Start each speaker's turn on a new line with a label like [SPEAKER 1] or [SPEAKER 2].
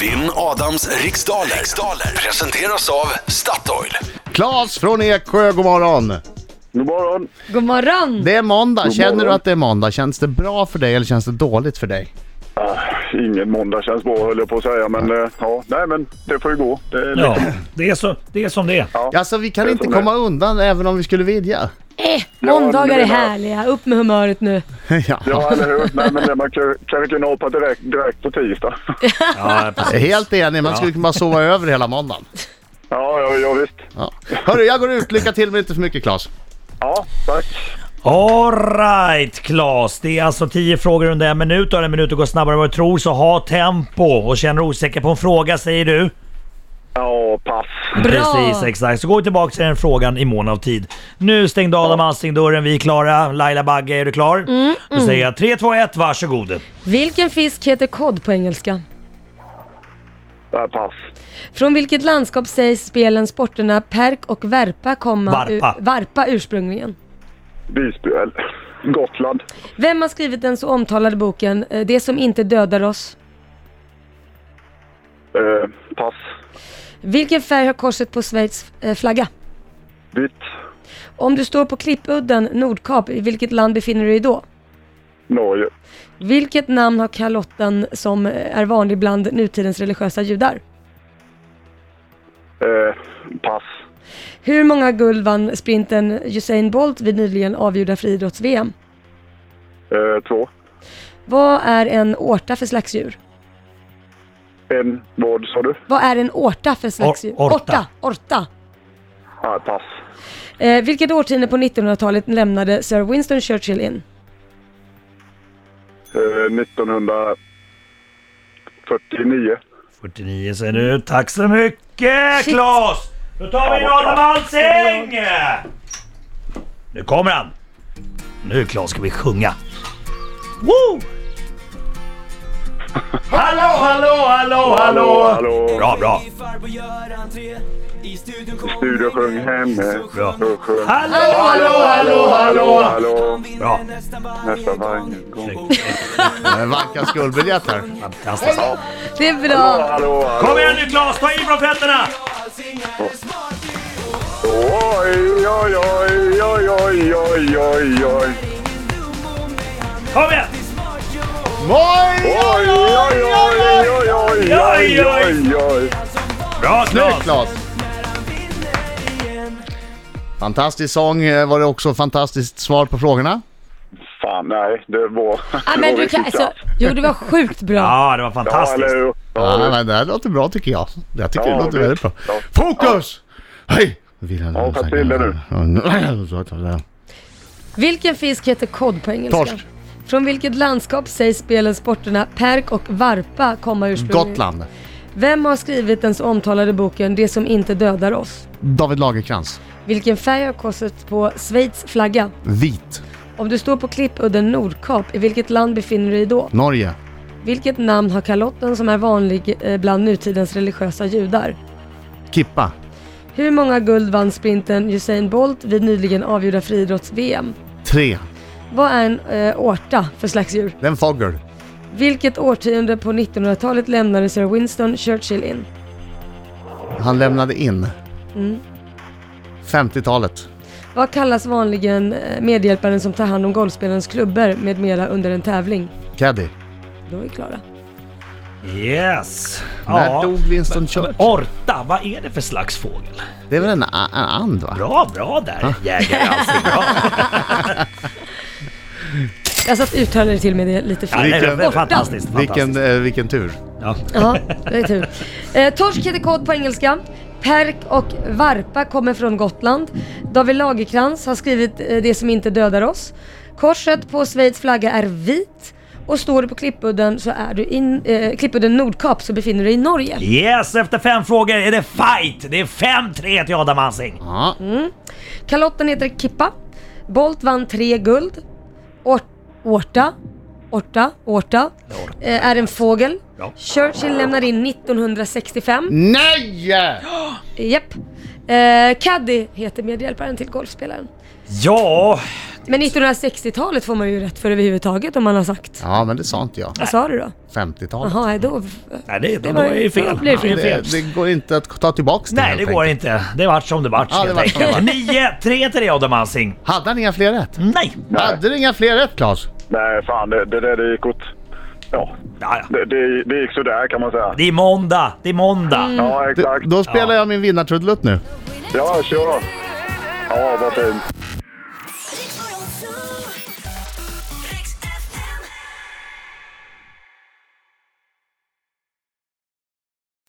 [SPEAKER 1] Vinn Adams riksdaler. riksdaler presenteras av Statoil.
[SPEAKER 2] Claes från Eksjö, god morgon.
[SPEAKER 3] God morgon.
[SPEAKER 4] God morgon!
[SPEAKER 2] Det är måndag,
[SPEAKER 3] God
[SPEAKER 2] känner du
[SPEAKER 3] morgon.
[SPEAKER 2] att det är måndag? Känns det bra för dig eller känns det dåligt för dig?
[SPEAKER 3] Ah, ingen måndag känns bra höll jag på att säga, men eh, ja, nej men det får ju gå. Det är
[SPEAKER 5] Ja,
[SPEAKER 3] liksom,
[SPEAKER 5] det är, så, det är som det är.
[SPEAKER 2] Alltså vi kan
[SPEAKER 3] är
[SPEAKER 2] inte
[SPEAKER 3] som det är.
[SPEAKER 2] komma undan även om vi skulle vilja.
[SPEAKER 4] Eh,
[SPEAKER 3] Ja,
[SPEAKER 4] måndagar
[SPEAKER 3] det
[SPEAKER 4] är
[SPEAKER 3] menar jag.
[SPEAKER 4] härliga, upp med humöret nu.
[SPEAKER 2] ja.
[SPEAKER 3] ja, eller hur? Nej, men det man kan kan ju kunna hoppa direkt, direkt på tisdag.
[SPEAKER 5] Ja,
[SPEAKER 2] Jag är Helt enig, man skulle kunna bara sova över hela måndagen.
[SPEAKER 3] Ja, ja, ja visst.
[SPEAKER 2] Ja. Hörru, jag går ut. Lycka till men inte för mycket Claes.
[SPEAKER 3] Ja, tack.
[SPEAKER 5] Alright Claes, det är alltså 10 frågor under en minut. Har en minut att gå snabbare än vad du tror, så ha tempo. Och känner du osäker på en fråga, säger du?
[SPEAKER 3] Ja, pass.
[SPEAKER 4] Bra!
[SPEAKER 5] Precis, exakt. Så gå tillbaka till den frågan i mån av tid. Nu stängde Adam Alsing dörren, vi är klara. Laila Bagge, är du klar? Då säger jag 3, 2, 1, varsågod.
[SPEAKER 4] Vilken fisk heter kod på engelska?
[SPEAKER 3] Ja, pass.
[SPEAKER 4] Från vilket landskap sägs spelen sporterna perk och verpa komma
[SPEAKER 5] Varpa.
[SPEAKER 4] ur- varpa ursprungligen?
[SPEAKER 3] Visby, eller Gotland.
[SPEAKER 4] Vem har skrivit den så omtalade boken eh, Det som inte dödar oss?
[SPEAKER 3] Eh, pass.
[SPEAKER 4] Vilken färg har korset på Schweiz eh, flagga?
[SPEAKER 3] Vitt.
[SPEAKER 4] Om du står på Klippudden, Nordkap, i vilket land befinner du dig då?
[SPEAKER 3] Norge.
[SPEAKER 4] Vilket namn har kalotten som eh, är vanlig bland nutidens religiösa judar?
[SPEAKER 3] Eh, pass.
[SPEAKER 4] Hur många guld vann sprinten Usain Bolt vid nyligen avgjorda friidrotts-VM?
[SPEAKER 3] Eh, två.
[SPEAKER 4] Vad är en årta för slags djur?
[SPEAKER 3] En. Vad sa du?
[SPEAKER 4] Vad är en årta för slags
[SPEAKER 5] Or-
[SPEAKER 4] djur?
[SPEAKER 5] orta.
[SPEAKER 4] Orta! orta.
[SPEAKER 3] Ja, pass.
[SPEAKER 4] Eh, vilket årtionde på 1900-talet lämnade Sir Winston Churchill in?
[SPEAKER 3] Eh, 1949.
[SPEAKER 5] 49 säger du. Tack så mycket Claes! Då tar vi in Adam Alsing! Nu kommer han! Nu Claes ska vi sjunga. Woo! Hallå, hallå, hallå, hallå!
[SPEAKER 3] Hallå.
[SPEAKER 5] Bra, bra.
[SPEAKER 3] Studio sjöng henne.
[SPEAKER 5] Bra.
[SPEAKER 3] eh, Och sjöng.
[SPEAKER 5] Hallå, hallå, hallå, hallå!
[SPEAKER 3] Hallå.
[SPEAKER 5] Bra.
[SPEAKER 3] Nästan varje gång.
[SPEAKER 2] Eh, Vanka skuldbiljett här.
[SPEAKER 5] Fantastiskt.
[SPEAKER 4] Det är bra!
[SPEAKER 3] Hallå, hallå.
[SPEAKER 5] Kom igen nu Claes, ta i från fötterna!
[SPEAKER 3] Oj, oj, oj, oj, oj, oj, oj, oj.
[SPEAKER 5] Kom igen!
[SPEAKER 2] Oj!
[SPEAKER 3] Oj, oj, oj, oj, oj, oj, oj, oj.
[SPEAKER 5] Bra
[SPEAKER 2] Snyggt
[SPEAKER 5] Claes!
[SPEAKER 2] Claes! Fantastisk sång, eh, var det också fantastiskt svar på frågorna?
[SPEAKER 3] Fan, nej, det var...
[SPEAKER 4] Ah,
[SPEAKER 3] det
[SPEAKER 4] men
[SPEAKER 3] var
[SPEAKER 4] du kan,
[SPEAKER 3] riktigt
[SPEAKER 4] alltså,
[SPEAKER 3] kass.
[SPEAKER 4] jo, det var sjukt bra.
[SPEAKER 5] Ja, det var
[SPEAKER 3] Ja,
[SPEAKER 5] fantastiskt.
[SPEAKER 3] eller hur?
[SPEAKER 2] Ja,
[SPEAKER 3] Ja,
[SPEAKER 2] men det här låter bra tycker jag. Jag tycker
[SPEAKER 3] Ja,
[SPEAKER 2] det låter
[SPEAKER 3] visst.
[SPEAKER 2] väldigt bra.
[SPEAKER 3] Ja.
[SPEAKER 2] Fokus! Hej! Vill
[SPEAKER 3] Ja, ta till det nu.
[SPEAKER 2] Mm. nu.
[SPEAKER 4] Vilken fisk heter kod på engelska?
[SPEAKER 2] Torsk.
[SPEAKER 4] Från vilket landskap sägs spelen sporterna perk och varpa komma ursprungligen?
[SPEAKER 2] Gotland.
[SPEAKER 4] Vem har skrivit den så omtalade boken Det som inte dödar oss?
[SPEAKER 2] David Lagerkrans.
[SPEAKER 4] Vilken färg har korset på Schweiz flagga?
[SPEAKER 2] Vit.
[SPEAKER 4] Om du står på Klippudden Nordkap, i vilket land befinner du dig då?
[SPEAKER 2] Norge.
[SPEAKER 4] Vilket namn har kalotten som är vanlig eh, bland nutidens religiösa judar?
[SPEAKER 2] Kippa.
[SPEAKER 4] Hur många guld vann sprinten Usain Bolt vid nyligen avgjorda friidrotts-VM?
[SPEAKER 2] Tre.
[SPEAKER 4] Vad är en eh, årta för slags djur?
[SPEAKER 2] Den Fogger.
[SPEAKER 4] Vilket årtionde på 1900-talet lämnade Sir Winston Churchill in?
[SPEAKER 2] Han lämnade in.
[SPEAKER 5] Mm.
[SPEAKER 2] 50-talet.
[SPEAKER 4] Vad kallas vanligen eh, medhjälparen som tar hand om golfspelarens klubbor med mera under en tävling?
[SPEAKER 2] Caddy.
[SPEAKER 4] Då är vi klara.
[SPEAKER 5] Yes!
[SPEAKER 2] När dog
[SPEAKER 5] Ja.
[SPEAKER 2] Winston Churchill?
[SPEAKER 5] Orta, vad är det för slags fågel?
[SPEAKER 2] Det är väl en, a- en and va?
[SPEAKER 5] Bra, bra där jägare alltså. Bra.
[SPEAKER 4] Jag satt uttalade till med det lite
[SPEAKER 5] Ja,
[SPEAKER 4] fel.
[SPEAKER 5] det är
[SPEAKER 2] Vilken- eh,
[SPEAKER 5] fantastiskt. fantastiskt.
[SPEAKER 2] Vilken, eh, vilken tur.
[SPEAKER 5] Ja.
[SPEAKER 4] Ja, det är tur. Eh, torsk heter kod på engelska. Perk och varpa kommer från Gotland. David Lagerkrans har skrivit eh, Det som inte dödar oss. Korset på Schweiz flagga är vit. Och står du på Klippudden, så är du in, eh, Klippudden Nordkap så befinner du dig i Norge.
[SPEAKER 5] Yes, efter fem frågor är det fight! Det är 5-3 till Adam Alsing.
[SPEAKER 2] Ja.
[SPEAKER 4] Kalotten heter Kippa. Bolt vann tre guld. Or- Orta, Orta, Orta eh, är en fågel.
[SPEAKER 5] Ja.
[SPEAKER 4] Churchill lämnar in 1965.
[SPEAKER 2] Nej!
[SPEAKER 4] Japp. Eh, Caddy heter medhjälparen till golfspelaren.
[SPEAKER 5] Ja,
[SPEAKER 4] Men 1960-talet får man ju rätt för överhuvudtaget om man har sagt.
[SPEAKER 2] Ja, men det sa inte jag.
[SPEAKER 4] Vad sa du då?
[SPEAKER 2] 50-talet.
[SPEAKER 4] Jaha, nej, då...
[SPEAKER 5] Nej, det, det,
[SPEAKER 4] var-
[SPEAKER 5] var ju
[SPEAKER 4] det
[SPEAKER 5] fel.
[SPEAKER 4] blev fel.
[SPEAKER 5] är
[SPEAKER 2] Det, det går inte att ta tillbaks det
[SPEAKER 5] Nej,
[SPEAKER 2] helt
[SPEAKER 5] det går
[SPEAKER 2] enkelt.
[SPEAKER 5] inte. Det vart som det vart.
[SPEAKER 2] Ja, det
[SPEAKER 5] helt
[SPEAKER 2] vart som det
[SPEAKER 5] enkelt. 9-3 till dig Adam Alsing.
[SPEAKER 2] Hade han inga fler rätt?
[SPEAKER 5] Nej!
[SPEAKER 3] Nej,
[SPEAKER 2] Hade du inga fler rätt, Claes?
[SPEAKER 3] nej fan det, det där det gick åt... Ja,
[SPEAKER 5] Ja, ja.
[SPEAKER 3] det, det, det gick sådär kan man säga.
[SPEAKER 5] Det är måndag. Det är måndag.
[SPEAKER 4] Mm.
[SPEAKER 3] Ja,
[SPEAKER 2] Du,
[SPEAKER 3] exakt.
[SPEAKER 2] då spelar jag min vinnartrudelutt nu.
[SPEAKER 3] Ja, kör. Ja, vad fint.
[SPEAKER 6] Riks